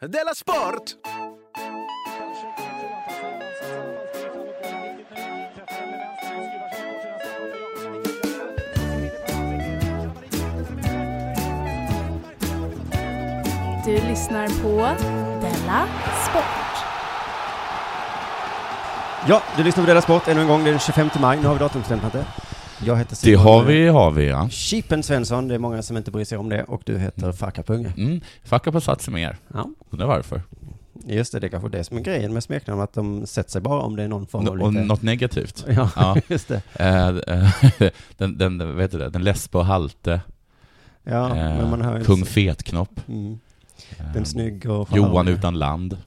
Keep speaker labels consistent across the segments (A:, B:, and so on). A: Della Sport!
B: Du lyssnar på Della Sport.
C: Ja, du lyssnar på Della Sport ännu en gång. Det är den 25 maj. Nu har vi datumstämt, Ante. Jag heter
D: Det
C: Simon.
D: har vi, har vi ja.
C: Chipen Svensson, det är många som inte bryr sig om det. Och du heter Farkapunge.
D: Mm. Fucka på Sats mer.
C: Ja,
D: Undrar varför.
C: just det. Det är kanske det som är grejen med smeknamn, att de sätter sig bara om det är någon form
D: Nå-
C: av
D: och
C: lite...
D: något negativt.
C: Ja,
D: Ja.
C: just det.
D: Eh, eh, den, den, vet du det, den läspe och halte,
C: Ja,
D: eh,
C: men man hör ju...
D: kung Fetknopp,
C: Mm.
D: eh,
C: Den snygg och
D: Johan
C: charmig.
D: utan land.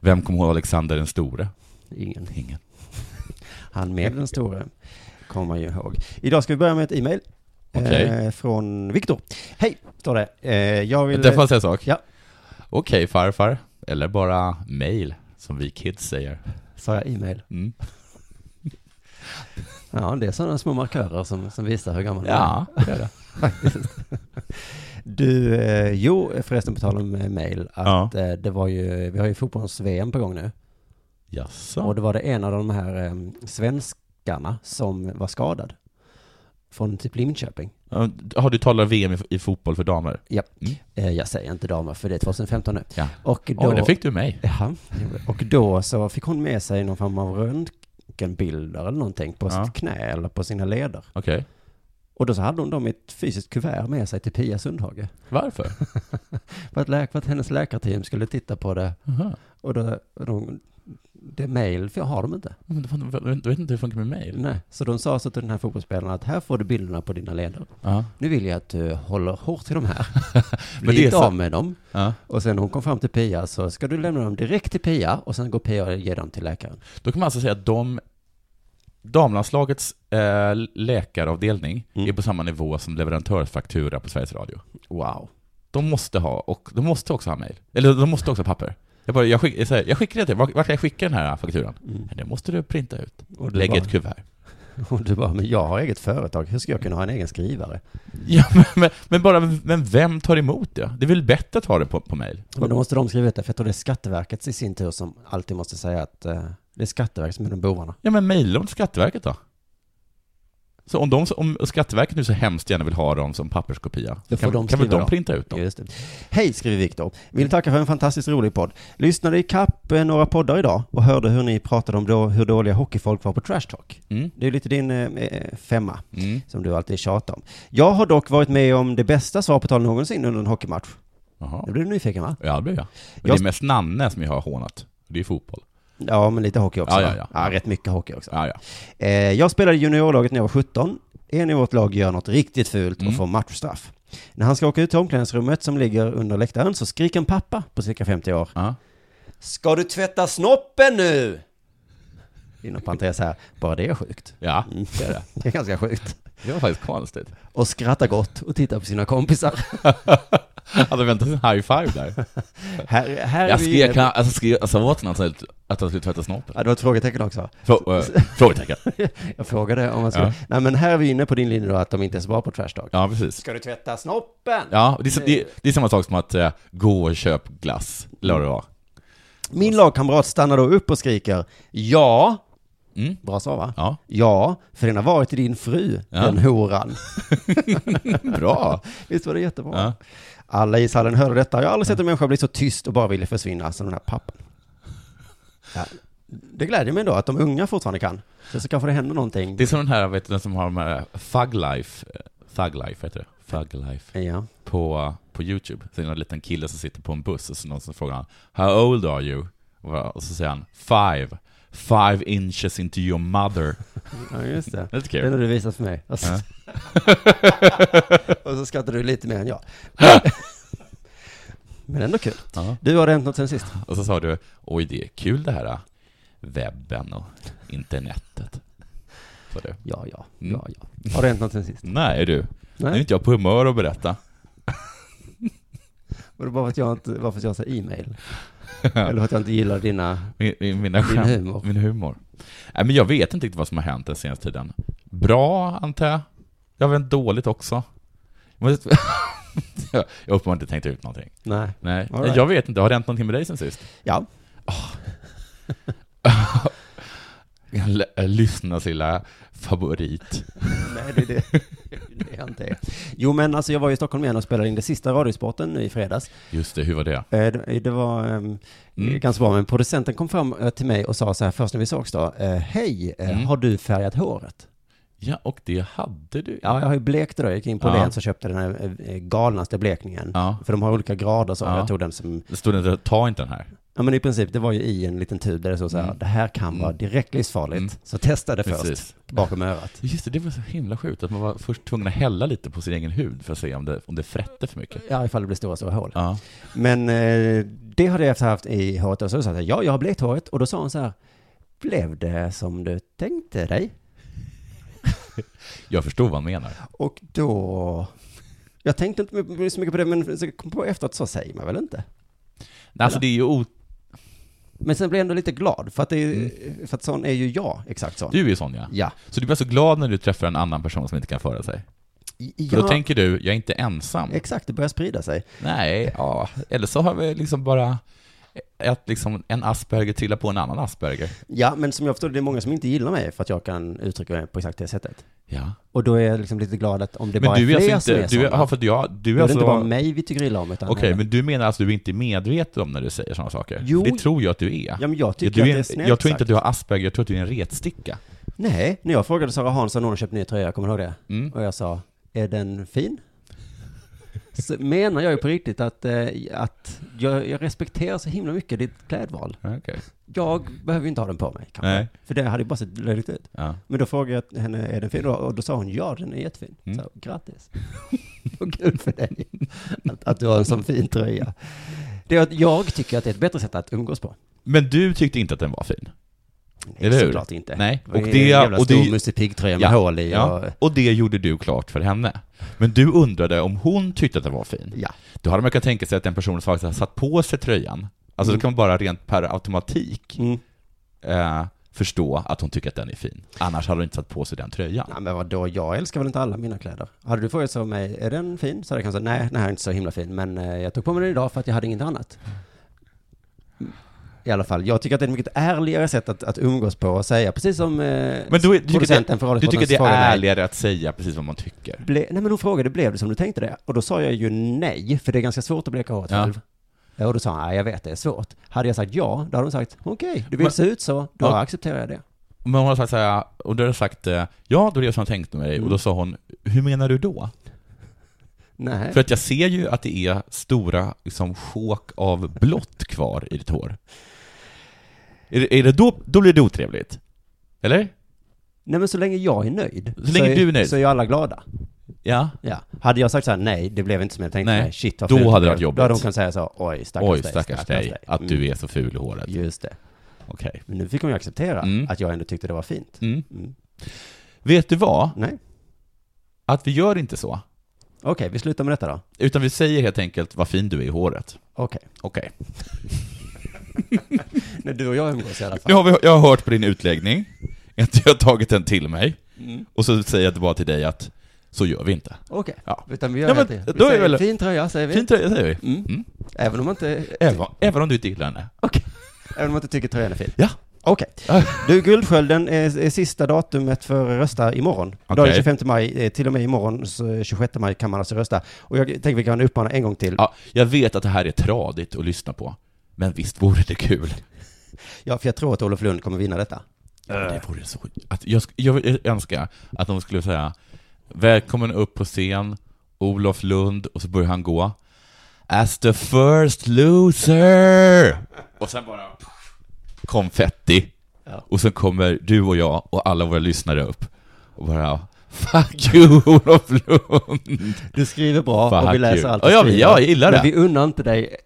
D: Vem kommer ihåg Alexander den store?
C: Ingen.
D: Ingen.
C: Han med den store. Kommer man ju ihåg. Idag ska vi börja med ett e-mail.
D: Okej.
C: Eh, från Viktor. Hej, står det. Eh, jag vill...
D: Där får jag säga en sak.
C: Ja.
D: Okej farfar, eller bara mail, som vi kids säger.
C: Sa jag e-mail?
D: Mm.
C: Ja, det är sådana små markörer som, som visar hur gammal man är.
D: Ja, det är det.
C: Du, eh, jo förresten på tal om eh, mail, att eh, det var ju, vi har ju fotbolls-VM på gång nu. Och
D: Jaså?
C: det var det en av de här eh, svenskarna som var skadad. Från typ Linköping.
D: Ja, Har du talat VM i, i fotboll för damer?
C: Ja.
D: Mm.
C: Eh, jag säger inte damer, för det är 2015 nu.
D: Ja.
C: Och
D: Oj,
C: då,
D: där fick du mig.
C: ja, och då så fick hon med sig någon form av röntgenbilder eller någonting på
D: Ja.
C: sitt knä eller på sina leder.
D: Okej.
C: Och då så hade hon dem i ett fysiskt kuvert med sig till Pia Sundhage.
D: Varför?
C: För att, lä- för att hennes läkarteam skulle titta på det
D: Aha.
C: Och då, och de, det mail för jag har dem inte.
D: Men det fan- Jag vet inte hur det funkar med mail.
C: Nej. Så de sa så till den här fotbollsspelaren att här får du bilderna på dina leder.
D: Ja.
C: Nu vill jag att du håller hårt i de här.
D: Men
C: Bli
D: det är
C: inte
D: så-
C: av med dem.
D: Ja.
C: Och sen när hon kom fram till Pia så ska du lämna dem direkt till Pia och sen går Pia och ger dem till läkaren.
D: Då kan man alltså säga att de, damlandslagets eh, läkaravdelning
C: Mm.
D: är på samma nivå som leverantörsfaktura på Sveriges Radio.
C: Wow.
D: De måste ha, och de måste också ha mejl. Eller de måste också ha papper. Jag, bara, jag, skick, jag, säger, jag skickar det till Vart vart kan jag skicka den här fakturan?
C: Mm.
D: "Nej, Det måste du printa ut.
C: Och, du
D: Lägg i
C: bara,
D: ett kuvert.
C: och du bara, men jag har eget företag, hur ska jag kunna ha en egen skrivare?
D: Ja, men, men, men, bara, men vem tar emot det? Det är väl bättre att ha det på, på mejl?
C: Men då måste de skriva ut det, för jag tror det är Skatteverket i sin tur som alltid måste säga att eh, det är Skatteverket som är de bovarna.
D: Ja, men mejla dem till Skatteverket då. Så om, de, om Skatteverket nu så hemskt gärna vill ha dem som papperskopia,
C: Då
D: så
C: får
D: kan,
C: de
D: kan väl
C: skriva
D: de
C: dem.
D: printa ut dem?
C: Just det. Hej, skriver Viktor. Vill tacka för en fantastiskt rolig podd. Lyssnade i kapp eh, några poddar idag och hörde hur ni pratade om då, hur dåliga hockeyfolk var på Trash Talk.
D: Mm.
C: Det är lite din eh, eh, femma,
D: Mm.
C: som du alltid tjatar om. Jag har dock varit med om det bästa svar på tal någonsin under en hockeymatch.
D: Jaha.
C: Nu blir du nyfiken va?
D: Ja, det blir jag. Men
C: Jag-
D: det är mest Nanne som jag har hånat. Det är fotboll.
C: Ja, men lite hockey också.
D: Ja,
C: va?
D: ja, ja.
C: rätt mycket hockey också.
D: Ja, ja.
C: Eh, jag spelade i juniorlaget när jag var 17. En i vårt lag gör något riktigt fult och
D: Mm.
C: får matchstraff. När han ska åka ut till omklädningsrummet som ligger under läktaren så skriker en pappa på cirka 50 år
D: ja.
C: Ska du tvätta snoppen nu? Inom parentes här, bara det är sjukt.
D: Ja,
C: Mm.
D: det är det.
C: Det är ganska sjukt.
D: Det var faktiskt konstigt.
C: Och skratta gott och titta på sina kompisar.
D: Hade väntat en high five där.
C: Här, här är
D: Jag
C: vi
D: skrev,
C: inne
D: kan,
C: på...
D: alltså, skrev, alltså åt honom att- att han skulle tvätta snoppen.
C: Ja, det var ett frågetecken också.
D: Frå, äh, frågetecken.
C: Jag frågade om man skulle...
D: Ja.
C: Nej, men här är vi inne på din linje då, att de inte är så bra på trash talk.
D: Ja, precis.
C: Ska du tvätta snoppen?
D: Ja, och det, är, så- det, är- det är samma sak som att eh, gå och köp glass, eller vad det var.
C: Min lagkamrat stannar då upp och skriker Ja.
D: Mm.
C: Bra svar va?
D: Ja,
C: Ja, för den har varit i din fru,
D: Ja.
C: den horan.
D: bra.
C: Visst var det jättebra?
D: Ja.
C: Alla i ishallen hörde detta. Jag har aldrig sett en människa bli så tyst och bara ville försvinna som den här pappan. Ja, det glädjer mig ändå att de unga fortfarande kan. Så, så kanske det händer någonting.
D: Det är som den här, vet du, den som har de här eh, Thug Life, eh, Thug Life heter det, Thug Life,
C: Ja.
D: på, på YouTube. Så är det en liten kille som sitter på en buss och så någon som frågar han, How old are you? Och så säger han, Five. Five inches into your mother.
C: ja, just det.
D: Lite
C: Den
D: kul.
C: har du visat för mig. Alltså. och så skrattar du lite mer än jag. Men ändå kul.
D: Ja.
C: Du, har det hänt något sen sist?
D: Och så sa du, oj det är kul det här äh, webben och internetet. Så du,
C: Ja, ja, ja, ja. Har det hänt något sen sist?
D: nej du, nu är
C: Nej,
D: inte jag på humör att berätta.
C: var det bara för att jag inte, bara för att jag sa e-mail? Eller för att jag inte gillar dina...
D: Min, min, mina
C: Din
D: skämt,
C: humor.
D: Min humor. Nej men jag vet inte riktigt vad som har hänt den senaste tiden. Bra, antar jag. Jag har väl dåligt också. Men- jag har uppenbarligen inte tänkt ut någonting.
C: Nej.
D: Nej,
C: All right.
D: jag vet inte. Har det hänt någonting med dig sen sist?
C: Ja.
D: L- äh, Lyssna lilla favorit.
C: Nej, det är det. det är inte. Jo, men alltså jag var ju i Stockholm igen och spelade in det sista Radiosporten nu i fredags.
D: Just det, hur var det?
C: Eh, Det, det var ehm,
D: Mm.
C: ganska bra, men producenten kom fram eh, till mig och sa så här först när vi sågs då. eh, Hej, eh,
D: Mm.
C: har du färgat håret?
D: Ja, och det hade du.
C: Ja, jag har ju blekt det då. Jag gick in på
D: Ja.
C: Åhléns och köpte den här eh, galnaste blekningen.
D: Ja.
C: För de har olika grader så.
D: Ja.
C: Jag tog den som,
D: Det stod inte, ta inte den här.
C: ja men i princip, det var ju i en liten tub där det stod så här,
D: Mm.
C: det här kan
D: Mm.
C: vara direkt livsfarligt.
D: Mm.
C: Så testa det först,
D: Precis.
C: bakom örat.
D: Just det, det var så himla sjukt att man var först tvungen att hälla lite på sin egen hud för att se om det, om det frätte för mycket.
C: Ja, ifall det blir stora, stora hål.
D: Ja.
C: Men eh, det hade jag haft i håret och så sa jag, ja, jag har blekt håret. Och då sa hon så här, blev det som du tänkte dig?
D: Jag förstod vad han menar.
C: Och då, jag tänkte inte så mycket på det, men så kom jag på efteråt, så säger man väl inte?
D: Nej, Alltså det är ju o...
C: Men sen blev jag ändå lite glad, för att, det är, för att sån är ju jag, exakt sån.
D: Mm. Du är ju sån ja.
C: Ja.
D: Så du blir så glad när du träffar en annan person som inte kan föra sig. För
C: ja
D: då tänker du, jag är inte ensam.
C: Exakt, det börjar sprida sig.
D: Nej, ja. Eller så har vi liksom bara att liksom en asperger trillar på en annan asperger.
C: Ja, men som jag förstår det, det är många som inte gillar mig för att jag kan uttrycka mig på exakt det sättet.
D: Ja.
C: Och då är jag liksom lite glad att om det
D: Men
C: bara
D: du
C: är
D: är
C: fler
D: alltså
C: som är
D: inte, du är,
C: sådana,
D: ja, för att jag,
C: då
D: du
C: är
D: är
C: det inte bara
D: alltså,
C: mig vi tycker illa om, utan...
D: okej, men du menar alltså du är inte medveten om när du säger sådana saker?
C: Jo.
D: Det tror jag att du är.
C: Ja, men jag tycker att
D: du är
C: det är
D: en-
C: snällt
D: jag tror inte
C: sagt.
D: att du har asperger, jag tror att du är en retsticka.
C: Nej, när jag frågade Sara Hansson, hon har köpt ny tröja, kommer du ihåg det?
D: Mm.
C: Och jag sa, är den fin? Så menar jag ju på riktigt att, eh, att jag, jag respekterar så himla mycket ditt klädval.
D: Okej.
C: Jag behöver ju inte ha den på mig, kanske.
D: Nej.
C: För det hade ju bara sett löjligt ut.
D: Ja.
C: Men då frågade jag henne, är den fin? Och då sa hon, ja den är jättefin.
D: Mm.
C: Så, grattis. Och kul för dig. Att, att du har en sån fin tröja. Det är att jag tycker att det är ett bättre sätt att umgås på.
D: Men du tyckte inte att den var fin?
C: Nej,
D: Eller hur?
C: såklart inte.
D: Nej.
C: Och det
D: Och det-
C: Eh, är en jävla
D: och det-
C: stor Musse Pigg-tröja med
D: Ja,
C: hål i. Och,
D: Ja. Och det gjorde du klart för henne. Men du undrade om hon tyckte att den var fin?
C: ja.
D: Då hade man kunnat tänka sig att den personen faktiskt har satt på sig tröjan. Alltså
C: Mm.
D: då kan man bara rent per automatik
C: Mm.
D: eh, förstå att hon tycker att den är fin. Annars hade hon inte satt på sig den tröjan.
C: Nej men vadå, jag älskar väl inte alla mina kläder. Hade du frågat så mig, är den fin? Så hade jag kanske sagt, nej den här är inte så himla fin, men eh, jag tog på mig den idag för att jag hade inget annat. I alla fall, jag tycker att det är ett mycket ärligare sätt att, att umgås på och säga, precis som eh,
D: Men då, är- du, tycker
C: producenten
D: att
C: för
D: det, du tycker att
C: Radiosportens
D: det är
C: frågade mig,
D: ärligare att säga precis vad man tycker?
C: Ble, nej men hon frågade, blev det som du tänkte det? Och då sa jag ju nej, för det är ganska svårt att bleka håret
D: Ja.
C: själv. Ja, och då sa han, nej jag vet det är svårt. Hade jag sagt ja, då hade hon sagt, okej, du vill
D: Men-
C: se ut så, då
D: Ja.
C: accepterar jag det.
D: Men hon har sagt så här, och då har jag sagt eh, ja, då är det som jag tänkte med dig. Och då sa hon, hur menar du då?
C: Nej.
D: För att jag ser ju att det är stora liksom, sjok av blått kvar i ditt hår. Är det, är det då, då blir det otrevligt? Eller?
C: Nej men så länge jag är nöjd,
D: Så länge
C: är,
D: du är nöjd.
C: så är alla glada.
D: Ja.
C: Ja. Hade jag sagt så här, nej, det blev inte som jag tänkte
D: Nej.
C: mig, shit vad
D: Då
C: fult
D: hade det
C: blev.
D: varit jobbigt.
C: Då hade de kunnat säga så, oj stackars
D: Oj,
C: dig.
D: stackars dig, att du är så ful i håret.
C: Mm, just det.
D: Okej.
C: Men nu fick hon ju acceptera
D: Mm.
C: att jag ändå tyckte det var fint.
D: Mm.
C: Mm.
D: Vet du vad?
C: Nej,
D: Att vi gör inte så.
C: okej, vi slutar med detta då.
D: Utan vi säger helt enkelt vad fin du är i håret.
C: Okej.
D: Okej.
C: När du och jag umgås i alla
D: Nu
C: fall.
D: har vi, jag har hört på din utläggning, att jag har tagit den till mig, och så säger jag bara till dig att så gör vi inte.
C: Mm. Okej,
D: Ja.
C: utan vi gör
D: Ja, men
C: helt enkelt.
D: då är
C: vi säger,
D: väl-
C: fin tröja säger vi.
D: Fin tröja säger vi.
C: Mm.
D: Mm.
C: Även om man inte,
D: Även, även om du inte gillar henne.
C: Okej. även om man inte tycker tröjan är fin.
D: Ja.
C: Okej. Du, Guldskölden är, är sista datumet för att rösta imorgon. Idag är det
D: Okej.
C: 25 maj, eh, till och med imorgon, så 26 maj kan man alltså rösta. Och jag tänker vi kan uppmana en gång till.
D: ja. Jag vet att det här är tradigt att lyssna på, men visst vore det kul?
C: Ja, för jag tror att Olof Lund kommer vinna detta.
D: Det vore så... Att jag, sk- jag vill- önskar att de skulle säga Välkommen upp på scen, Olof Lund, och så börjar han gå As the first loser! Och sen bara konfetti.
C: Ja.
D: Och sen kommer du och jag och alla våra lyssnare upp och bara Fuck you Olof Lund!
C: Du skriver bra
D: Fan,
C: och vi
D: kul.
C: läser allt du
D: Ja, ja,
C: skriver.
D: jag gillar det.
C: Men vi unnar inte dig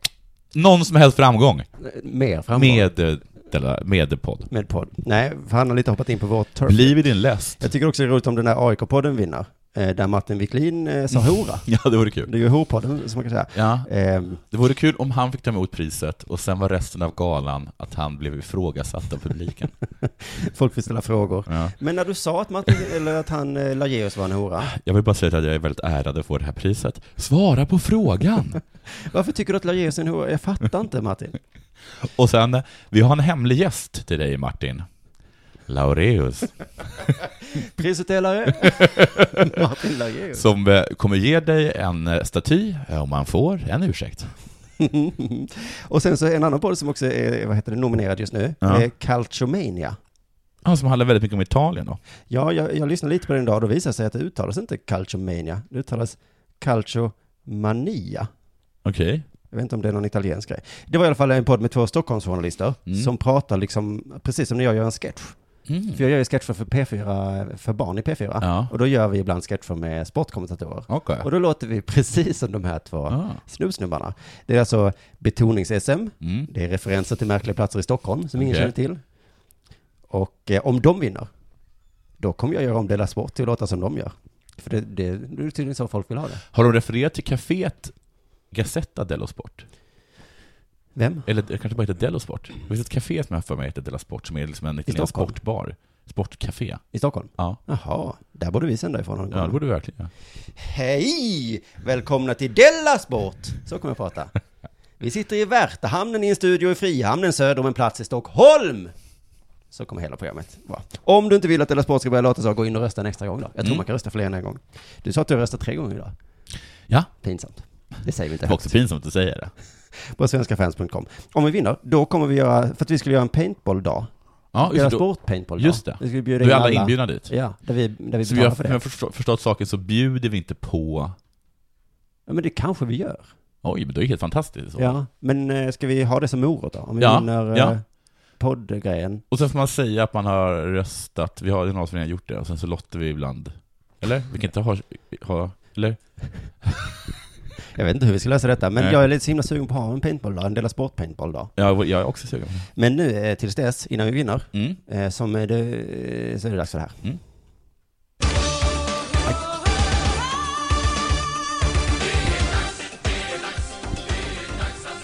D: Någon som helst framgång
C: eh, mer framgång med,
D: med, eh, dela- med podd.
C: med podd. Nej, för han har lite hoppat in på vårt turf.
D: Liv i din läst.
C: Jag tycker också det är roligt om den här AIK-podden vinner. eh, där Martin Wiklin eh, sa hora.
D: Ja, det vore kul.
C: Det är ju horpodden, som man kan säga.
D: Ja,
C: Ehm,
D: det vore kul om han fick ta emot priset och sen var resten av galan att han blev ifrågasatt av publiken.
C: folk vill ställa frågor.
D: Ja.
C: Men när du sa att, Martin, eller att han eh, Lageus var en hora,
D: Jag vill bara säga att jag är väldigt ärad att få det här priset. Svara på frågan!
C: varför tycker du att Lageus är en hora? Jag fattar inte Martin.
D: Och sen, vi har en hemlig gäst till dig Martin. Laureus,
C: Prisutdelare, Martin Lageus.
D: som eh, kommer ge dig en eh, staty, eh, om man får, en ursäkt.
C: och sen så en annan podd som också är, vad heter det, nominerad just nu,
D: Ja.
C: är Calciomania.
D: Han som handlar väldigt mycket om Italien då.
C: Ja, jag, jag lyssnade lite på den idag och då visade det sig att det uttalas inte Calciomania, det uttalas Calciomania.
D: Okej.
C: Jag vet inte om det är någon italiensk grej. Det var i alla fall en podd med två Stockholmsjournalister
D: Mm.
C: som pratar liksom, precis som när jag gör en sketch. För jag gör ju sketcher för P4, för barn i P4.
D: Ja,
C: Och då gör vi ibland sketcher med sportkommentatorer.
D: okej.
C: Och då låter vi precis som de här två
D: Ah.
C: snubbsnubbarna. Det är alltså betonings-SM,
D: Mm.
C: det är referenser till märkliga platser i Stockholm som ingen
D: Okej.
C: känner till. Och eh, om de vinner, då kommer jag göra om Dela Sport till att låta som de gör. För det, det, det är tydligen så folk vill ha det.
D: Har de refererat till kaféet Gazzetta dello Sport?
C: Vem?
D: Eller det kanske bara heter dello Sport? Det finns ett café som jag har för mig heter dello Sport, som är liksom en liten
C: Stockholm?
D: sportbar. Sportcafé.
C: I Stockholm?
D: Ja.
C: Jaha, där borde vi sända ifrån någon gång.
D: Ja, det borde vi verkligen göra.
C: Hej! Välkomna till Della Sport! Så kommer jag prata. Vi sitter i Värtahamnen i en studio i Frihamnen söder om en plats i Stockholm! Så kommer hela programmet vara. Om du inte vill att Della Sport ska börja låta så, gå in och rösta en extra gång då. Jag tror
D: Mm.
C: man kan rösta fler än en gång. Du sa att du har röstat tre gånger idag.
D: Ja.
C: Pinsamt. Det säger vi inte
D: Det var också pinsamt att säga det.
C: högt. På svenskafans.com. Om vi vinner, då kommer vi göra, för att vi skulle göra en paintball-dag.
D: Ja,
C: Della
D: just, det.
C: Sport paintball-dag.
D: Just det.
C: Vi skulle
D: då
C: bjuda
D: är
C: in
D: alla inbjudna dit.
C: Ja, där vi, där vi
D: Som jag
C: betalar för
D: har
C: det.
D: jag förstå- förstått saken så bjuder vi inte på...
C: Ja, men det kanske vi gör.
D: Oj, men det är helt fantastiskt. Så.
C: Ja, men eh, ska vi ha det som morot då? Om vi
D: Ja,
C: vinner eh,
D: ja.
C: poddgrejen.
D: Och sen får man säga att man har röstat, vi har det är någon som redan gjort det, och sen så lottar vi ibland. Eller? Vi kan inte ha... ha eller?
C: Jag vet inte hur vi ska lösa detta, men
D: Nej.
C: jag är lite så himla sugen på att ha en paintball då, en del av sportpaintball då.
D: Ja, jag är också sugen.
C: Men nu eh, tills dess, innan vi vinner,
D: Mm.
C: eh, som är det, eh, så är det dags för det här.
D: Mm.
C: Aj.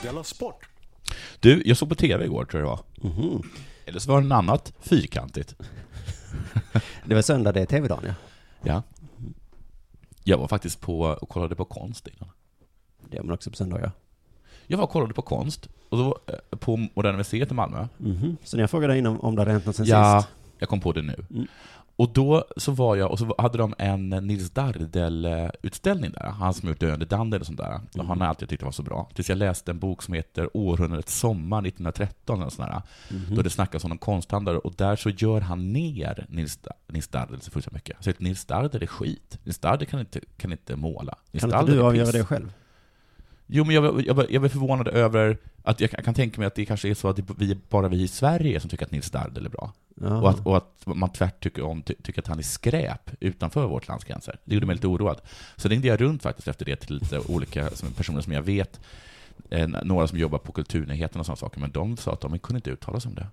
A: Della Sport.
D: Du, jag såg på TV igår, tror jag det var.
C: Mhm.
D: Eller så var det något annat fyrkantigt.
C: Det var söndag, det är tv-dagen ja.
D: Ja. Jag var faktiskt på och kollade på konst innan.
C: Det gör man också på söndagar.
D: Jag var och kollade på konst, och då, eh, på Moderna Museet i Malmö.
C: Mhm. Så när jag frågade innan om det hade hänt något sen
D: Ja,
C: sist.
D: jag kom på det nu.
C: Mm.
D: Och då så var jag, och så hade de en eh, Nils Dardel-utställning där, han som gjort Döende Dandel och sånt där. Och han har
C: Mm.
D: alltid tyckt det var så bra. Tills jag läste en bok som heter Århundradets sommar 1913, eller sånt där.
C: Mm.
D: Då det snackas om en konsthandlare, och där så gör han ner Nils, Da- Nils Dardel så fruktansvärt mycket. Så att Nils Dardel är skit. Nils Dardel kan inte, kan inte måla. Nils
C: Kan inte
D: Dardel
C: du
D: är
C: avgöra
D: piss.
C: det själv?
D: Jo, men jag, var- jag, var- jag blev förvånad över att jag, kan- kan tänka mig att det kanske är så att det är vi, bara vi i Sverige som tycker att Nils Dardel är bra.
C: Ja.
D: Och att, och att man tvärt tycker, om, ty, tycker att han är skräp utanför vårt lands gränser. Det gjorde mig lite oroad. Så ringde jag runt faktiskt efter det till lite olika som, personer som jag vet, eh, några som jobbar på Kulturnyheterna och sådana saker, men de sa att de kunde inte uttala sig om det.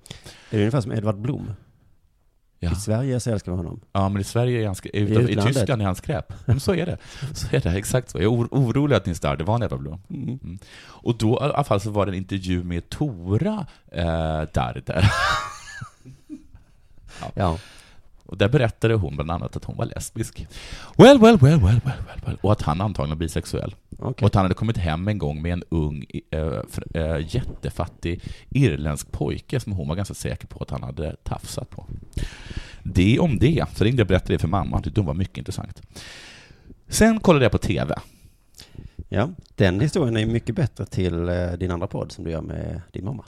C: Det är ungefär som Edvard Blom.
D: Ja,
C: I Sverige så älskar man honom.
D: ja men i Sverige är han skräp,
C: I
D: utanför, i
C: utlandet.
D: Tyskland är han skräp. Men så är det. Så är det, exakt så. Jag är or- orolig att Nils Dardel var en jävla blom. Mm. Och då i alla fall så var det en intervju med Tora eh, Darder.
C: Ja.
D: Och där berättade hon bland annat att hon var lesbisk. Well, well, well, well, well, well, well. Och att han antagligen var bisexuell.
C: Okej.
D: Och att han hade kommit hem en gång med en ung, eh, fr- eh, jättefattig irländsk pojke som hon var ganska säker på att han hade tafsat på. Det om det. Så ringde jag och berättade det för mamma. Hon tyckte hon var mycket intressant. Sen kollade jag på TV.
C: Ja, den historien är mycket bättre till eh, din andra podd som du gör med din mamma.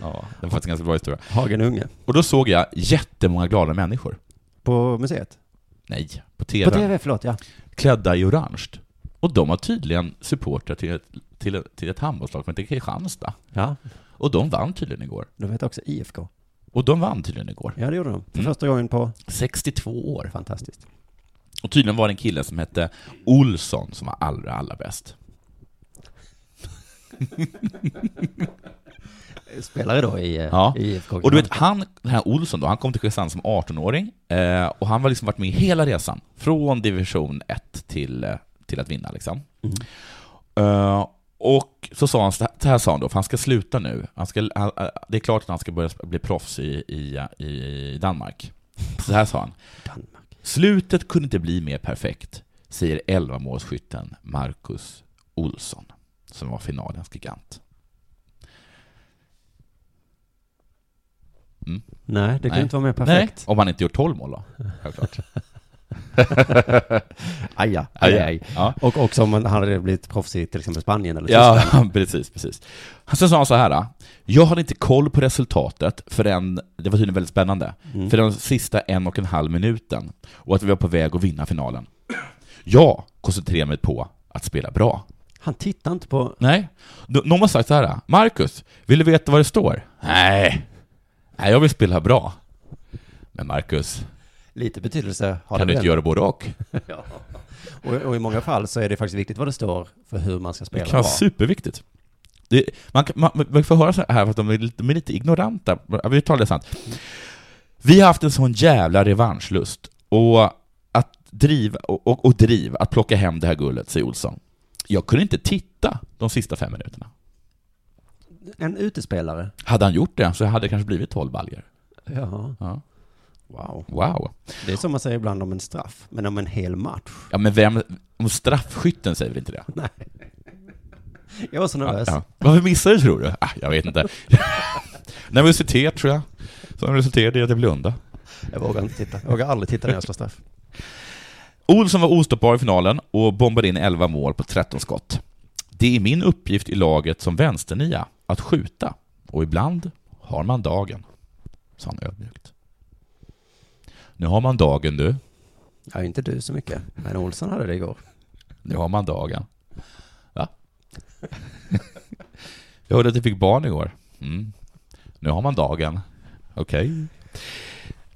D: Ja, det var faktiskt en ganska bra historia.
C: Hagen Unge.
D: Och då såg jag jättemånga glada människor.
C: På museet?
D: Nej, på TV.
C: På tv, förlåt ja.
D: klädda i orange. Och de var tydligen supportrar till ett, till, till ett handbollslag som heter Kristianstad.
C: Ja.
D: Och de vann tydligen igår.
C: De heter också IFK.
D: Och de vann tydligen igår.
C: Ja, det gjorde de. För
D: Mm.
C: första gången på...
D: 62 år.
C: Fantastiskt.
D: Och tydligen var det en kille som hette Olsson som var allra, allra bäst.
C: spelare då i, eh,
D: Ja.
C: i IFK.
D: Och du vet, han, den här Olsson då, han kom till Kristianstad som 18-åring eh, och han har liksom varit med hela resan, från division 1 till, eh, till att vinna liksom.
C: Mm.
D: Eh, och så sa han, så här- så här sa han då, för han ska sluta nu, han ska, han, eh, det är klart att han ska börja bli proffs i, i, i Danmark. Så här sa han. Slutet kunde inte bli mer perfekt, säger 11-målsskytten Marcus Olsson, som var finalens gigant.
C: Nej, det kan
D: Nej.
C: inte vara mer perfekt.
D: Nej, om han inte gjort 12 mål då, självklart.
C: Aja, aj, aj.
D: Ja.
C: Eh, Och också om han hade blivit proffs i till exempel Spanien eller Tyskland.
D: Ja, precis, precis. Sen sa han så här, "Ah, jag hade inte koll på resultatet förrän, det var tydligen väldigt spännande,
C: Mm.
D: för den sista en och en halv minuten och att vi var på väg att vinna finalen. Jag koncentrerade mig på att spela bra.
C: Han tittar inte på...
D: Nej. Nå- Någon har sagt så här, Marcus, vill du veta vad det står? Nej. Nej, jag vill spela bra. Men Marcus,
C: Lite betydelse har
D: kan
C: det
D: du inte
C: väl.
D: göra både och?
C: Och, och i många fall så är det faktiskt viktigt vad det står för hur man ska
D: Det
C: spela
D: kan vara
C: bra.
D: superviktigt. Det, man, kan- man, man får höra så här för att de är lite, de är lite ignoranta. Vi talar det sant. Vi har haft en sån jävla revanschlust och att driva, och, och, och driv att plocka hem det här guldet, säger Olsson. Jag kunde inte titta de sista fem minuterna.
C: En utespelare.
D: Hade han gjort det så hade det kanske blivit 12 baljor.
C: Ja.
D: Ja.
C: Wow.
D: Wow.
C: Det är som man säger ibland om en straff, men om en hel match.
D: Ja, men vem, om straffskytten säger väl inte det?
C: Jag var så nervös.
D: Ja. Varför missade du tror du? Ah, jag vet inte. Nervositet tror jag, som resulterade i att jag blundade.
C: Jag vågar inte titta. Jag vågar aldrig titta när jag slår straff.
D: Olsson var ostoppbar i finalen och bombade in 11 mål på 13 skott. Det är min uppgift i laget som vänsternia att skjuta och ibland har man dagen, sa han ödmjukt. Nu har man dagen du,
C: Ja, inte du så mycket. Men Olsson hade det igår.
D: nu har man dagen. Va? Jag hörde att du fick barn igår. Mm. Nu har man dagen. Okej. Men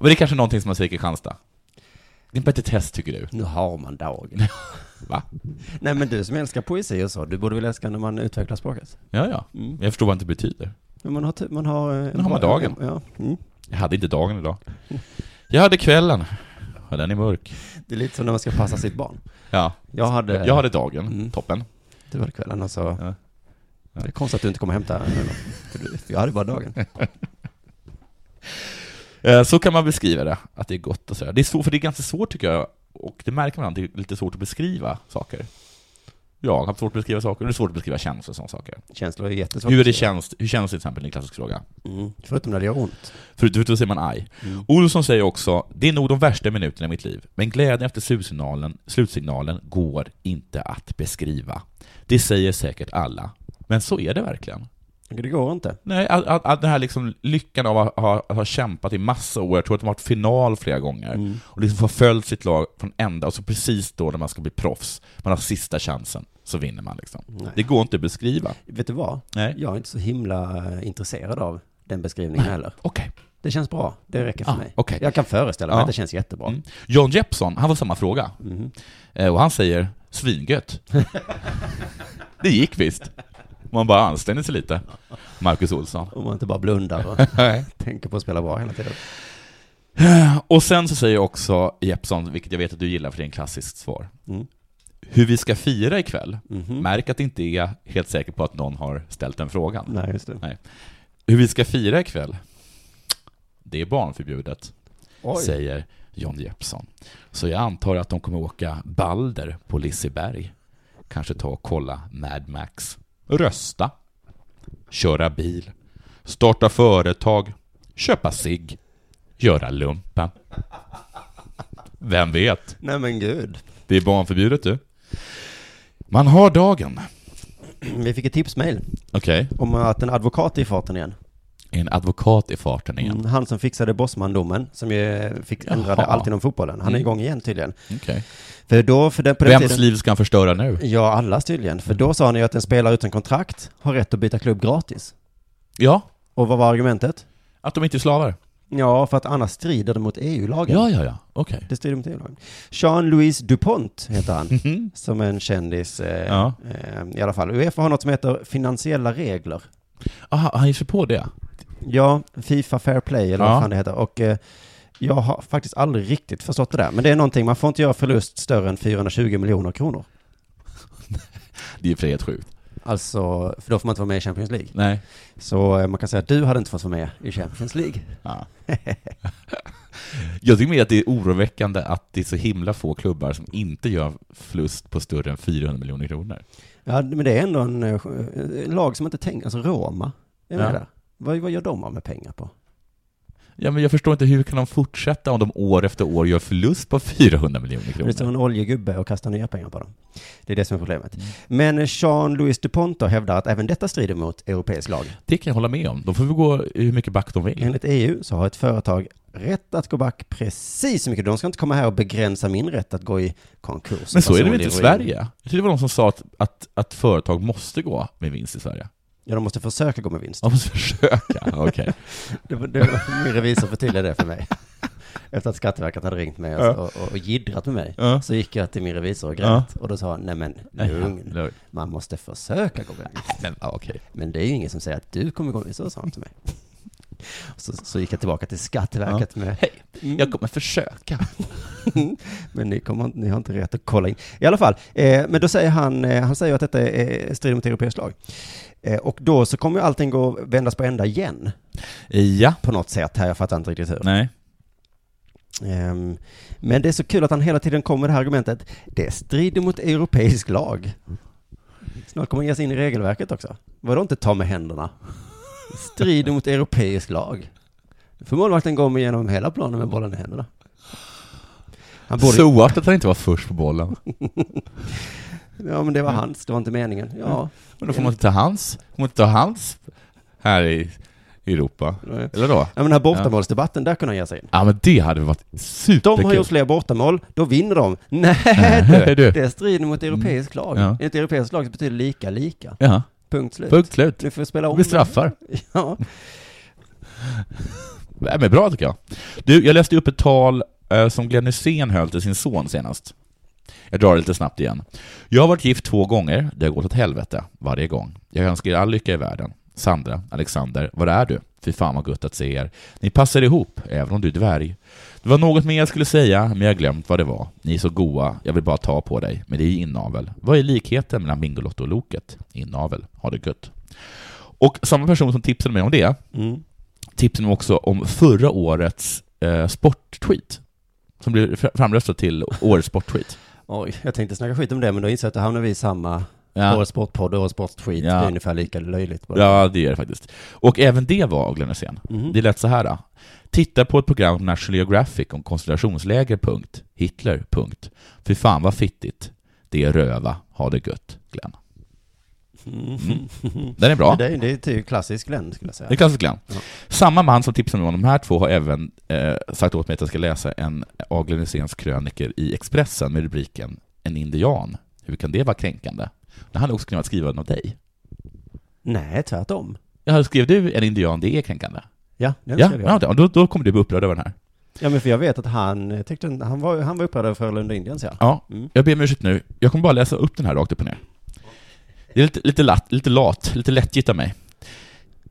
D: det är kanske någonting som man säger i Kristianstad. Det är en petitess tycker du.
C: Nu har man dagen.
D: Va?
C: Nej, men du som älskar poesi och så, du borde väl älska när man utvecklar språket?
D: Ja, ja. Jag förstår vad det inte betyder.
C: Men man har... ty- Man har, eh,
D: Nu har man dagen.
C: Ja. Mm.
D: Jag hade inte dagen idag. Jag hade kvällen. Ja, den är mörk.
C: Det är lite som när man ska passa sitt barn.
D: Ja,
C: Jag hade...
D: jag hade dagen.
C: Mm.
D: Toppen.
C: Du hade kvällen och så...
D: Ja. Ja.
C: Det är konstigt att du inte kommer hämta henne då. För du- för Jag hade bara dagen.
D: Eh, Så kan man beskriva det, att det är gott och sådär. Det är svårt, för det är ganska svårt tycker jag, och det märker man att det är lite svårt att beskriva saker. Jag har haft svårt att beskriva saker, och det är svårt att beskriva känslor och sådana saker.
C: Känslor är jättesvårt.
D: Hur,
C: att
D: det
C: säga.
D: känns, hur känns det till exempel, det är en klassisk fråga.
C: Mm. Förutom när det gör ont.
D: Förutom då säger man aj.
C: Mm.
D: Olsson säger också, det är nog de värsta minuterna i mitt liv, men glädjen efter slutsignalen, slutsignalen går inte att beskriva. Det säger säkert alla, men så är det verkligen.
C: Det går inte.
D: Nej, att, att, att den här liksom lyckan av att ha, att ha kämpat i massa år, jag tror att de har varit final flera gånger, och liksom förföljt sitt lag från ända, och så precis då när man ska bli proffs, man har sista chansen, så vinner man liksom.
C: Nej.
D: Det går inte att beskriva.
C: Vet du vad?
D: Nej.
C: Jag är inte så himla eh, intresserad av den beskrivningen heller.
D: Okej.
C: Det känns bra. Det räcker för
D: Ah,
C: mig.
D: okej.
C: Jag kan föreställa mig
D: Ja.
C: att det känns jättebra.
D: Mm. John Jeppson, han får samma fråga.
C: Mhm.
D: Eh, Och han säger svingött. det gick visst. Man bara ansträngde sig lite. Marcus Olsson.
C: Om man inte bara blundar och tänker på att spela bra hela tiden.
D: Eh, Och sen så säger också Jeppson, vilket jag vet att du gillar för det är en klassiskt svar.
C: Mm. Mhm.
D: Hur vi ska fira ikväll, Mm. märk att det inte är helt säker på att någon har ställt den frågan.
C: Nej, just det.
D: Hur vi ska fira ikväll, det är barnförbjudet,
C: Oj.
D: säger John Jeppson. Så jag antar att de kommer åka Balder på Liseberg. Kanske ta och kolla Mad Max. Rösta. Köra bil. Starta företag. Köpa sig. Göra lumpen. Vem vet?
C: Nej men gud.
D: Det är barnförbjudet du. Man har dagen.
C: Vi fick ett tipsmail
D: Okej.
C: om att en advokat är i farten igen.
D: En advokat i farten igen.
C: Mm, Han som fixade Bosman-domen, som ju fick ändrade
D: Jaha.
C: allt inom fotbollen. Han är igång igen tydligen.
D: Mm, Okej.
C: För då, för den, på den
D: Vems
C: tiden...
D: liv ska han förstöra nu?
C: Ja, allas tydligen. För då sa han ju att en spelare utan kontrakt har rätt att byta klubb gratis.
D: Ja,
C: Och vad var argumentet?
D: att de inte är slavar.
C: Ja, för att annars strider det mot E EU-lagen.
D: Ja, ja, ja. Okej.
C: Det strider mot EU-lagen. Jean-Louis DuPont heter han,
D: Mm.
C: som är en kändis. Eh,
D: Ja.
C: eh, I alla fall. Uefa har något som heter finansiella regler.
D: Aha, Ah, han ger sig på det?
C: Ja, Fifa Fair Play eller
D: Ja.
C: vad fan det heter. Och eh, jag har faktiskt aldrig riktigt förstått det där. Men det är någonting, man får inte göra förlust större än 420 miljoner kronor.
D: Det är ju för helt sjukt.
C: Alltså, för då får man inte vara med i Champions League.
D: Nej.
C: Så eh, man kan säga att du hade inte fått vara med i Champions League.
D: Ja. Jag tycker mer att det är oroväckande att det är så himla få klubbar som inte gör förlust på större än 400 miljoner kronor.
C: Ja, men det är ändå en, eh, en lag som inte tänker, alltså Roma, är med
D: Ja.
C: där. Vad, vad gör de av med pengar på?
D: Ja, men jag förstår inte hur kan de fortsätta om de år efter år gör förlust på 400 miljoner
C: Det är som
D: kronor?
C: en oljegubbe och kastar nya pengar på dem. Det är det som är problemet.
D: Mm.
C: Men Jean-Louis DuPont hävdar att även detta strider mot europeisk lag.
D: Det kan jag hålla med om. De får väl gå hur mycket back de vill.
C: Enligt EU så har ett företag rätt att gå back precis så mycket. De ska inte komma här och begränsa min rätt att gå i konkurs. Alltså,
D: Men så är Alltså, det väl
C: Personlig
D: inte i
C: ruin.
D: Sverige? Jag tyckte det var någon som sa att, att, att företag måste gå med vinst i Sverige.
C: Ja, de måste försöka gå med vinst.
D: De måste försöka. Okej.
C: Det, var- det, var- min revisor förtydligade det för mig. Efter att Skatteverket hade ringt mig och, och, och jiddrat med mig.
D: Ja.
C: Så gick jag till min revisor och grät. Och då sa han, nej men lugn.
D: lugn.
C: Man måste försöka gå med vinst.
D: Men, ja, okej.
C: Men det är ju ingen som säger att du kommer gå med vinst. Så sa han till mig. Så, så gick jag tillbaka till Skatteverket med, Mm.
D: Hej, jag kommer försöka.
C: Men ni, kommer, inte- ni har inte rätt att kolla in. I alla fall, eh, men då säger han, eh, han säger att detta är strider mot europeisk lag. Eh, och då så kommer ju allting gå vändas på ända igen
D: Ja.
C: på något sätt här, jag fattar inte riktigt hur.
D: Nej.
C: Ehm, men det är så kul att han hela tiden kommer med det här argumentet, det strider mot europeisk lag. Snart kommer han ge sig in i regelverket också. Vadå inte ta med händerna? Strider mot europeisk lag. Nu får målvakten gå med genom hela planen med bollen i händerna. Han borde
D: Så oart att han inte var först på bollen.
C: Ja, men det var hans, det var inte meningen. Ja,
D: Men Mm. då får man inte ta hans. Får man inte ta hans här i Europa.
C: Nej.
D: Eller då?
C: ja men den här bortamålsdebatten, där kunde han ge sig in.
D: Ja men det hade varit superkul.
C: De har gjort fler bortamål, då vinner de. Nej
D: Nej,
C: du,
D: du.
C: det strider mot europeisk lag.
D: Ja.
C: Enligt europeisk lag så betyder lika lika.
D: Ja,
C: Punkt slut.
D: punkt slut.
C: Nu får vi spela
D: Det
C: om.
D: blir straffar.
C: Ja.
D: Nej, Äh, men bra tycker jag. Du, jag läste upp ett tal eh, som Glenn Hysén höll till sin son senast. Jag drar det lite snabbt igen. Jag har varit gift två gånger, det har gått åt helvete varje gång. Jag önskar er all lycka i världen. Sandra, Alexander, var är du? Fy fan vad gött att se er. Ni passar ihop, även om du är dvärg. Det var något mer jag skulle säga, men jag har glömt vad det var. Ni är så goa, jag vill bara ta på dig. Men det är ju inavel. Vad är likheten mellan Bingolotto och Loket? Inavel. Ha det gött. Och samma person som tipsade mig om det,
C: Mm.
D: tipsen också om förra årets eh, sporttweet. Som blev fr- framröstad till årets sporttweet.
C: Oj, jag tänkte snacka skit om det, men då inser jag att då hamnar vi i samma
D: Ja,
C: Årets Sportpodd och Årets Sportskit.
D: Ja.
C: Det är ungefär lika löjligt bara.
D: ja, det är det faktiskt. Och även det var av Glenn Hysén.
C: Mhm.
D: Det lät så här. Då. Titta på ett program på National Geographic om koncentrationsläger. Punkt. Hitler. Punkt. Fy fan vad fittigt. Det är röva. Ha det gött, Glenn. Mm. Den är bra.
C: Det, är- det är typ klassisk Glenn, skulle jag
D: Det är
C: säga.
D: klassiskt Glenn.
C: Ja.
D: Samma man som tipsade mig om de här två har även eh, sagt åt mig att jag ska läsa en av Glenn Hyséns kröniker i Expressen med rubriken ”En indian. Hur kan det vara kränkande?” Det hade också kunnat skriva den av dig.
C: Nej, tvärtom.
D: Ja, skrev du ”En indian, det är kränkande”?
C: Ja, den
D: Ja,
C: skrev jag.
D: ja då, då- då kommer du bli upprörd över den här.
C: Ja, men för jag vet att han eh, tyckte, han var, han var upprörd över Frölunda Indians, ja.
D: Ja,
C: Mm.
D: jag ber om ursäkt nu. Jag kommer bara läsa upp den här rakt upp och ner. Det är lite, lite, lat, lite lat, lite lättjigt av mig.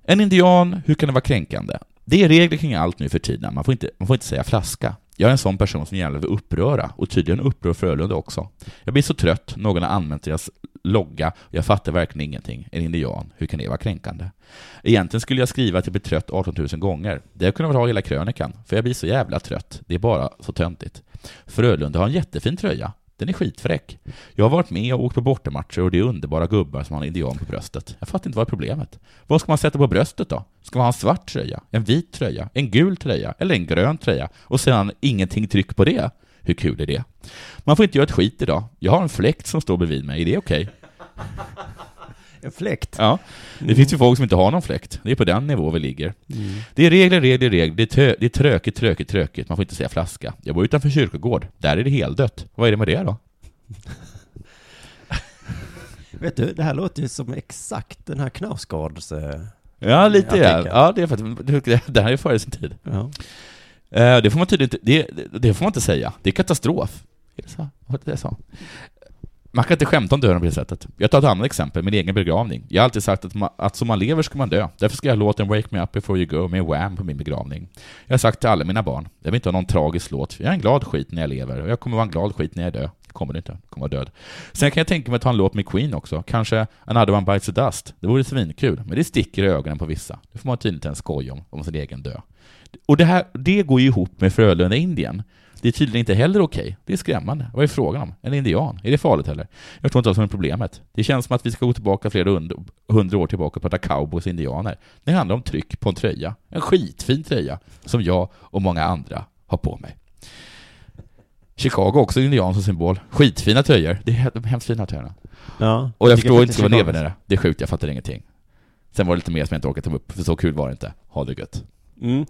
D: En indian, hur kan det vara kränkande? Det är regler kring allt nu för tiden. Man får inte, man får inte säga flaska. Jag är en sån person som gärna vill uppröra, och tydligen upprör Frölunda också. Jag blir så trött, någon har använt deras logga, och jag fattar verkligen ingenting. En indian, hur kan det vara kränkande? Egentligen skulle jag skriva att jag blir trött 18 000 gånger. Det hade kunnat vara hela krönikan, för jag blir så jävla trött. Det är bara så töntigt. Frölunda har en jättefin tröja. Den är skitfräck. Jag har varit med och åkt på bortamatcher och det är underbara gubbar som har en indian på bröstet. Jag fattar inte vad är problemet. Vad ska man sätta på bröstet då? Ska man ha en svart tröja? En vit tröja? En gul tröja? Eller en grön tröja? Och sedan ingenting tryck på det? Hur kul är det? Man får inte göra ett skit idag. Jag har en fläkt som står bredvid mig, är det okej?
C: En fläkt.
D: Ja, det finns ju folk som inte har någon fläkt. Det är på den nivå vi ligger. Det är regler, regler, regler. Det är, tö- det är trökigt, trökigt, trökigt. Man får inte säga flaska. Jag bor utanför kyrkogård. Där är det heldött. Vad är det med det då?
C: Vet du, det här låter ju som exakt den här Knausgårds... eh,
D: Ja, lite
C: Jag
D: ja.
C: tänker.
D: ja det, är för att, det här är före sin tid.
C: Ja.
D: Eh, Det får man tydligt, det, det får man inte säga. Det är katastrof. Är det så? Vad var det jag sa? Man kan inte skämta om döden på det sättet. Jag tar ett annat exempel, min egen begravning. Jag har alltid sagt att, ma- att som man lever ska man dö. Därför ska jag ha låten 'Wake Me Up Before You Go' med Wham på min begravning. Jag har sagt till alla mina barn, jag vill inte ha någon tragisk låt. Jag är en glad skit när jag lever och jag kommer vara en glad skit när jag dör. Jag kommer inte, jag kommer vara död. Sen kan jag tänka mig att ta en låt med Queen också. Kanske Another One Bites the Dust. Det vore svinkul, men det sticker i ögonen på vissa. Det får man tydligen inte ens skoja om, om sin egen död. Och det, här, det går ju ihop med Frölunda-Indien. Det är tydligen inte heller okej. Det är skrämmande. Vad är frågan om? En indian? Är det farligt heller? Jag förstår inte alls vad som är problemet. Det känns som att vi ska gå tillbaka flera hund- hundra år tillbaka och prata cowboys och indianer. Det handlar om tryck på en tröja. En skitfin tröja som jag och många andra har på mig. Chicago har också indian som symbol. Skitfina tröjor. Det är de hemskt fina tröjerna.
C: Ja.
D: Och jag förstår inte
C: faktiskt
D: vad
C: Chicago-
D: neven är. det. Det är sjukt, jag fattar ingenting. Sen var det lite mer som jag inte orkade ta upp, för så kul var det inte. Ha det gött.
C: Mm.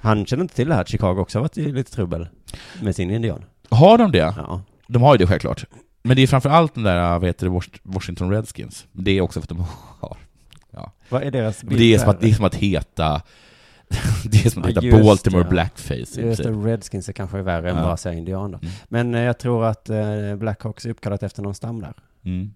C: Han känner inte till det här att Chicago också har varit i lite trubbel med sin indian.
D: Har de det?
C: Ja.
D: De har ju det självklart. Men det är framförallt den där, vad heter det, Wash- Washington Redskins. Det är också för att de har...
C: Vad är deras bild?
D: Det är som
C: där?
D: att, det är som att heta... Det är som att
C: Ja,
D: heta
C: just
D: Baltimore
C: det.
D: Blackface. i
C: Just
D: princip.
C: det, Redskins är kanske värre än
D: Ja.
C: bara att säga indianer.
D: Mm.
C: Men eh, jag tror att eh, Blackhawks är uppkallat efter någon stam där.
D: Mm.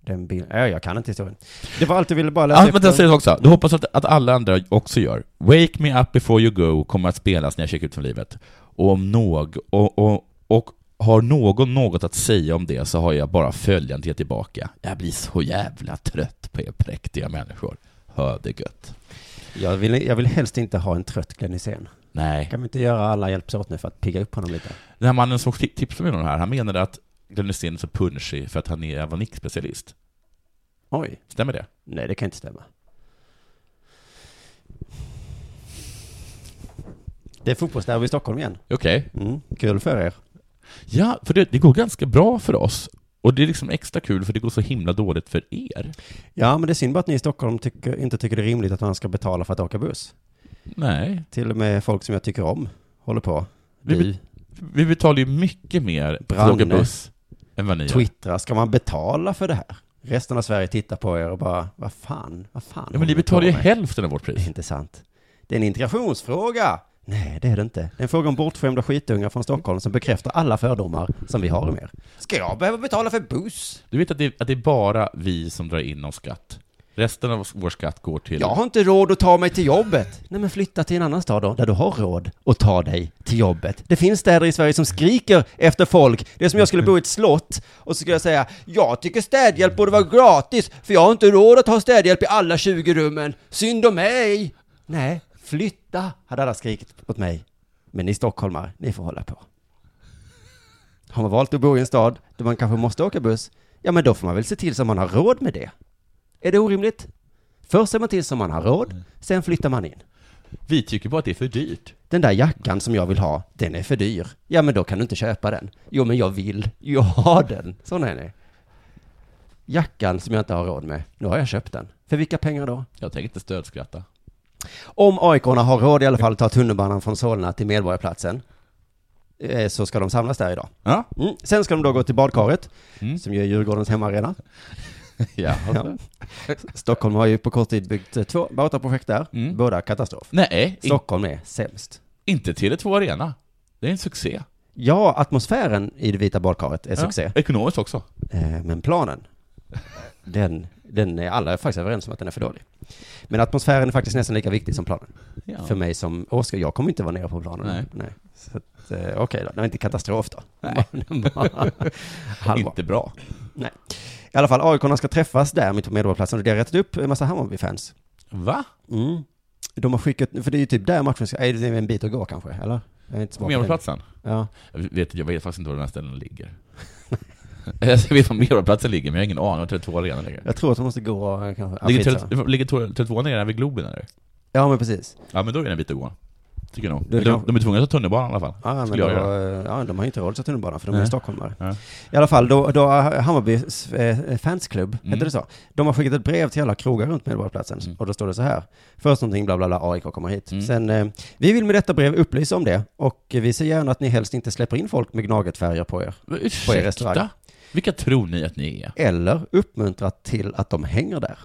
C: Den bild... Ja, jag kan inte historien. Det var allt du ville bara läsa
D: Ah,
C: efter.
D: men jag säger det också. Du hoppas att, att alla andra också gör. Wake Me Up Before You Go kommer att spelas när jag checkar ut från livet. Och om någ, och, och, och har någon något att säga om det så har jag bara följande till tillbaka. Jag blir så jävla trött på er präktiga människor. Hör det gött.
C: jag, vill, jag vill helst inte ha en trött Glenn Hysén.
D: Nej.
C: Kan vi inte göra alla hjälps åt nu för att pigga upp honom lite?
D: Den här mannen som ti- tipsade mig om det här, han menade att Glenn Hysén är så punchig för att han är avanikspecialist.
C: Oj.
D: Stämmer det?
C: Nej, det kan inte stämma. Det är fotbollsderby i Stockholm igen.
D: Okej.
C: Mm, kul för er.
D: Ja, för det, det går ganska bra för oss. Och det är liksom extra kul för det går så himla dåligt för er.
C: Ja, men det är synd bara att ni i Stockholm tycker, inte tycker det är rimligt att man ska betala för att åka buss.
D: Nej.
C: Till och med folk som jag tycker om håller på.
D: Vi,
C: Du
D: vi betalar ju mycket mer för att åka
C: Branne.
D: buss än vad ni gör.
C: twittrar, ska man betala för det här? Resten av Sverige tittar på er och bara, vad fan, vad fan.
D: Ja, men
C: håller
D: ni
C: på
D: betalar ju
C: med?"
D: hälften av vårt
C: Det är
D: pris.
C: inte sant. Det är en integrationsfråga. Nej, det är det inte. Det är en fråga om bortskämda skitungar från Stockholm som bekräftar alla fördomar som vi har om er. Ska jag behöva betala för buss?
D: Du vet att det, att det är bara vi som drar in någon skatt. Resten av vår skatt går till...
C: Jag har inte råd att ta mig till jobbet. Nej, men flytta till en annan stad då, där du har råd att ta dig till jobbet. Det finns städer i Sverige som skriker efter folk. Det är som jag skulle bo i ett slott och så skulle jag säga, jag tycker städhjälp borde vara gratis, för jag har inte råd att ha städhjälp i alla 20 rummen. Synd om mig! Nej, flytta, hade alla skrikit åt mig. Men ni stockholmare, ni får hålla på. Har man valt att bo i en stad där man kanske måste åka buss, ja men då får man väl se till så man har råd med det. Är det orimligt? Först ser man till så man har
D: Mm.
C: råd, sen flyttar man in.
D: Vi tycker bara att det är för dyrt.
C: Den där jackan som jag vill ha, den är för dyr. Ja, men då kan du inte köpa den. Jo, men jag vill. Jag har den. Sån är ni. Jackan som jag inte har råd med, nu har jag köpt den. För vilka pengar då?
D: Jag tänker inte stödskratta.
C: Om aik har råd i alla fall att ta tunnelbanan från Solna till Medborgarplatsen, eh, så ska de samlas där idag.
D: Ja.
C: Mm. Sen ska de då gå till badkaret,
D: Mm.
C: som ju är Djurgårdens hemmaarena.
D: ja.
C: Ja. Stockholm har ju på kort tid byggt eh, två båtarprojekt där,
D: Mm.
C: båda katastrof.
D: Nej, in,
C: Stockholm är sämst.
D: inte Tele2 Arena. Det är en succé.
C: Ja, atmosfären i det vita badkaret är succé.
D: Ja. Ekonomiskt också.
C: Eh, Men planen, den, den är alla faktiskt överens om att den är för dålig. Men atmosfären är faktiskt nästan lika viktig som planen.
D: Ja.
C: För mig som Oskar, jag kommer inte vara nere på planen.
D: Nej.
C: Så att, eh, okej då, det var inte katastrof då.
D: Nej.
C: Halva.
D: Inte bra.
C: Nej. I alla fall, AIK ska träffas där mitt på Medborgarplatsen och det har rättat upp en massa Hammarby-fans.
D: Va?
C: Mm. De har skickat, för det är ju typ där matchen ska, nej, det är en bit att gå kanske, eller? Jag är inte så bra på det.
D: Medborgarplatsen?
C: Ja.
D: Jag vet, jag vet faktiskt inte var den här ställen ligger. jag vet var Medborgarplatsen ligger, men jag har ingen aning var Tele2 Arena ligger.
C: Jag tror att de måste gå, eh, kanske, ja,
D: ligger
C: skitsamma.
D: Tele- ligger Tele2 nere vid Globen eller?
C: Ja, men precis.
D: Ja, men då är det en bit att gå. Tycker jag nog.
C: Det är
D: De,
C: kanske-
D: de är tvungna att ta tunnelbanan i alla fall.
C: Ja, men
D: Skulle
C: då, eh,
D: jag
C: ja, de har ju inte råd att ta tunnelbanan för de är
D: Nej.
C: stockholmare.
D: Ja.
C: I alla fall, då, då har Hammarbys eh, fansklubb,
D: Mm.
C: heter det så? De har skickat ett brev till alla krogar runt Medborgarplatsen
D: Mm.
C: och då står det så här. Först någonting bla bla bla, AIK kommer hit.
D: Mm.
C: Sen, eh, vi vill med detta brev upplysa om det och vi ser gärna att ni helst inte släpper in folk med gnagetfärger på er.
D: Men
C: på er restaurang.
D: Ursäkta? Vilka tror ni att ni är?
C: Eller uppmuntra till att de hänger där.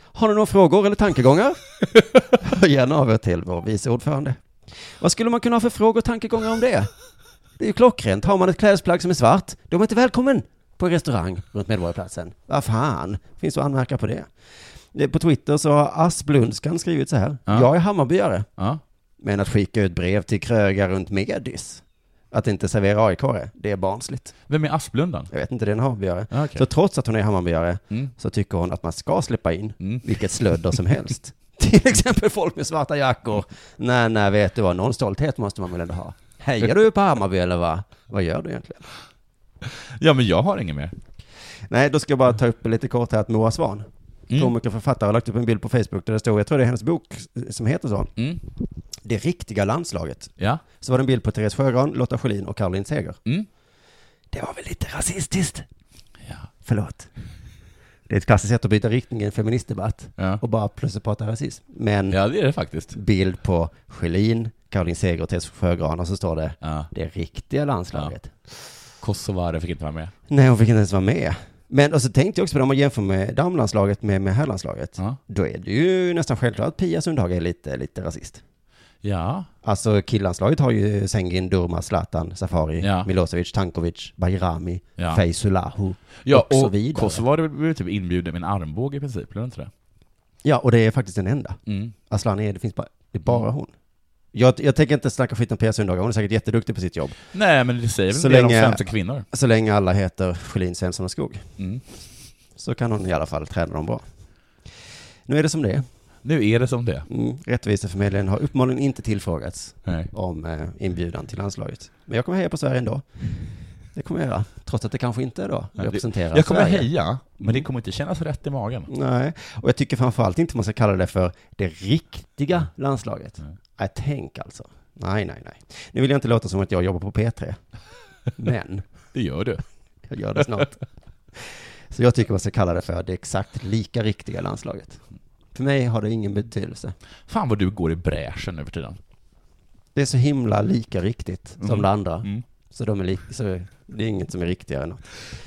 C: Har ni några frågor eller tankegångar? Hör gärna av er till vår vice ordförande. Vad skulle man kunna ha för frågor och tankegångar om det? Det är ju klockrent. Har man ett klädesplagg som är svart, då är man inte välkommen. på restaurang runt Medborgarplatsen. Vad fan, finns det att anmärka på det? Eh, På Twitter så har Asplundskan skrivit så här.
D: Ja.
C: Jag är Hammarbyare.
D: Ja.
C: Men att skicka ut brev till krögar runt Medis, att inte servera AIK, är, det är barnsligt.
D: Vem är Asplundan?
C: Jag vet inte, det är en Hammarbyare.
D: Ja, okej.
C: Så trots att hon är Hammarbyare
D: Mm.
C: så tycker hon att man ska släppa in
D: Mm.
C: vilket slödder som helst. till exempel folk med svarta jackor. Nej, nej, vet du vad, någon stolthet måste man väl ändå ha. Hejar du på Hammarby eller vad? Vad gör du egentligen?
D: Ja, men jag har inget mer.
C: Nej, då ska jag bara ta upp lite kort här att Moa Svahn,
D: Mm.
C: komiker och författare, har lagt upp en bild på Facebook där det står, jag tror det är hennes bok som heter så,
D: Mm.
C: Det riktiga landslaget.
D: Ja.
C: Så var det en bild på Therese Sjögran, Lotta Schelin och Caroline Seger.
D: Mm.
C: Det var väl lite rasistiskt?
D: Ja.
C: Förlåt. Det är ett klassiskt sätt att byta riktning i en feministdebatt
D: Ja.
C: och bara plötsligt prata rasism. Men
D: ja, det är det faktiskt.
C: bild på Schelin, Caroline Seger och Tess Sjögran och så står det
D: Ja.
C: det riktiga landslaget.
D: Kosovare fick inte vara med.
C: Nej, hon fick inte ens vara med. Men och så tänkte jag också på det, om man jämför med damlandslaget med, med herrlandslaget,
D: Ja.
C: då är det ju nästan självklart att Pia Sundhage är lite, lite rasist.
D: Ja.
C: Alltså killandslaget har ju Sengin, Durma, Zlatan, Safari,
D: Ja.
C: Milosevic, Tankovic, Bajrami,
D: Ja.
C: Feysulahu
D: Ja,
C: och så
D: och
C: vidare.
D: Kosovare blev typ inbjuden med en armbåge i princip, blev det inte det?
C: Ja, och det är faktiskt den enda.
D: Mm.
C: Aslan är, det finns bara, det är bara hon. Jag, jag tänker inte snacka skit om Pia Sundhage, hon är säkert jätteduktig på sitt jobb.
D: Nej, men det säger väl
C: Så
D: en del om
C: länge-
D: svenska kvinnor.
C: Så länge alla heter Schelin, Svensson och Skog
D: Mm.
C: så kan hon i alla fall träna dem bra. Nu är det som det är.
D: Nu är det som det
C: Mm, Rättviseförmedlingen har uppenbarligen inte tillfrågats
D: Nej.
C: om eh, inbjudan till landslaget. Men jag kommer heja på Sverige ändå. Det kommer jag göra, trots att det kanske inte då
D: Nej, det-
C: representerar
D: Jag kommer
C: Sverige.
D: heja, men det kommer inte kännas rätt i magen.
C: Nej, och jag tycker framförallt inte man ska kalla det för det riktiga landslaget.
D: Mm. Nej.
C: Nej, tänk alltså. Nej, nej, nej. Nu vill jag inte låta som att jag jobbar på P3, men
D: Det gör du.
C: jag gör det snart. Så jag tycker man ska kalla det för det exakt lika riktiga landslaget. För mig har det ingen betydelse.
D: Fan vad du går i bräschen nu för tiden.
C: Det är så himla lika riktigt som
D: Mm.
C: det andra.
D: Mm.
C: Så, de är lik, så det är inget som är riktigare än något.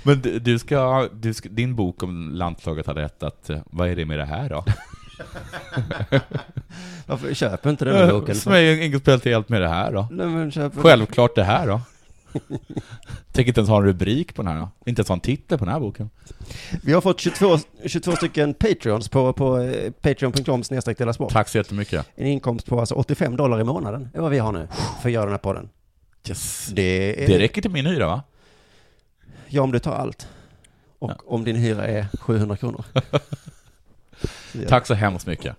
D: Men du, du, ska, du ska, din bok om landslaget hade hetat eh, Vad är det med det här då?
C: Varför köper inte den här boken?
D: Som är inget spelat helt med det här då?
C: Nej, men köper...
D: Självklart det här då. Tänker inte ens ha en rubrik på den här då. Inte ens ha en titel på den här boken.
C: Vi har fått 22, 22 stycken Patreons på, på eh, patreon.com snedstreck Dela Sport.
D: Tack så jättemycket.
C: En inkomst på alltså 85 dollar i månaden är vad vi har nu för att göra den här podden.
D: Yes.
C: Det är...
D: Det räcker till min hyra va?
C: Ja, om du tar allt. Och om din hyra är 700 kronor. Så gör-
D: Tack så hemskt mycket.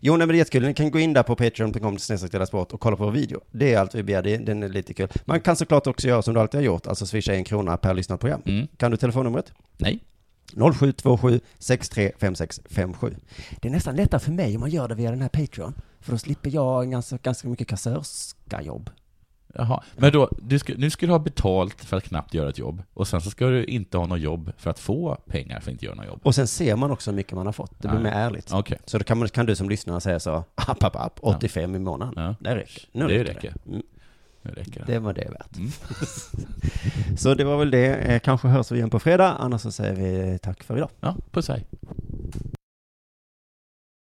C: Jo, nej, men det är jättekul. Ni kan gå in där på patreon.com till sport och kolla på vår video. Det är allt vi begär. Det- Den är lite kul. Man kan såklart också göra som du alltid har gjort, alltså swisha en krona per lyssnat program.
D: Mm.
C: Kan du telefonnumret?
D: Nej.
C: 0727 635657. Det är nästan lättare för mig om man gör det via den här Patreon. För då slipper jag ganska, ganska mycket kassörska-jobb.
D: Jaha. Men då, du ska, nu ska du ha betalt för att knappt göra ett jobb. Och sen så ska du inte ha något jobb för att få pengar för att inte göra något jobb.
C: Och sen ser man också hur mycket man har fått. Det blir
D: Ja.
C: mer ärligt.
D: Okej.
C: Så då kan, man, kan du som lyssnare säga så, app, app, app, 85 i månaden.
D: Ja.
C: Det räcker.
D: Det
C: det.
D: räcker. Mm.
C: Mm,
D: Nu räcker det.
C: det var det värt. så det var väl det. Eh, Kanske hörs vi igen på fredag, annars så säger vi tack för idag.
D: Ja, puss hej.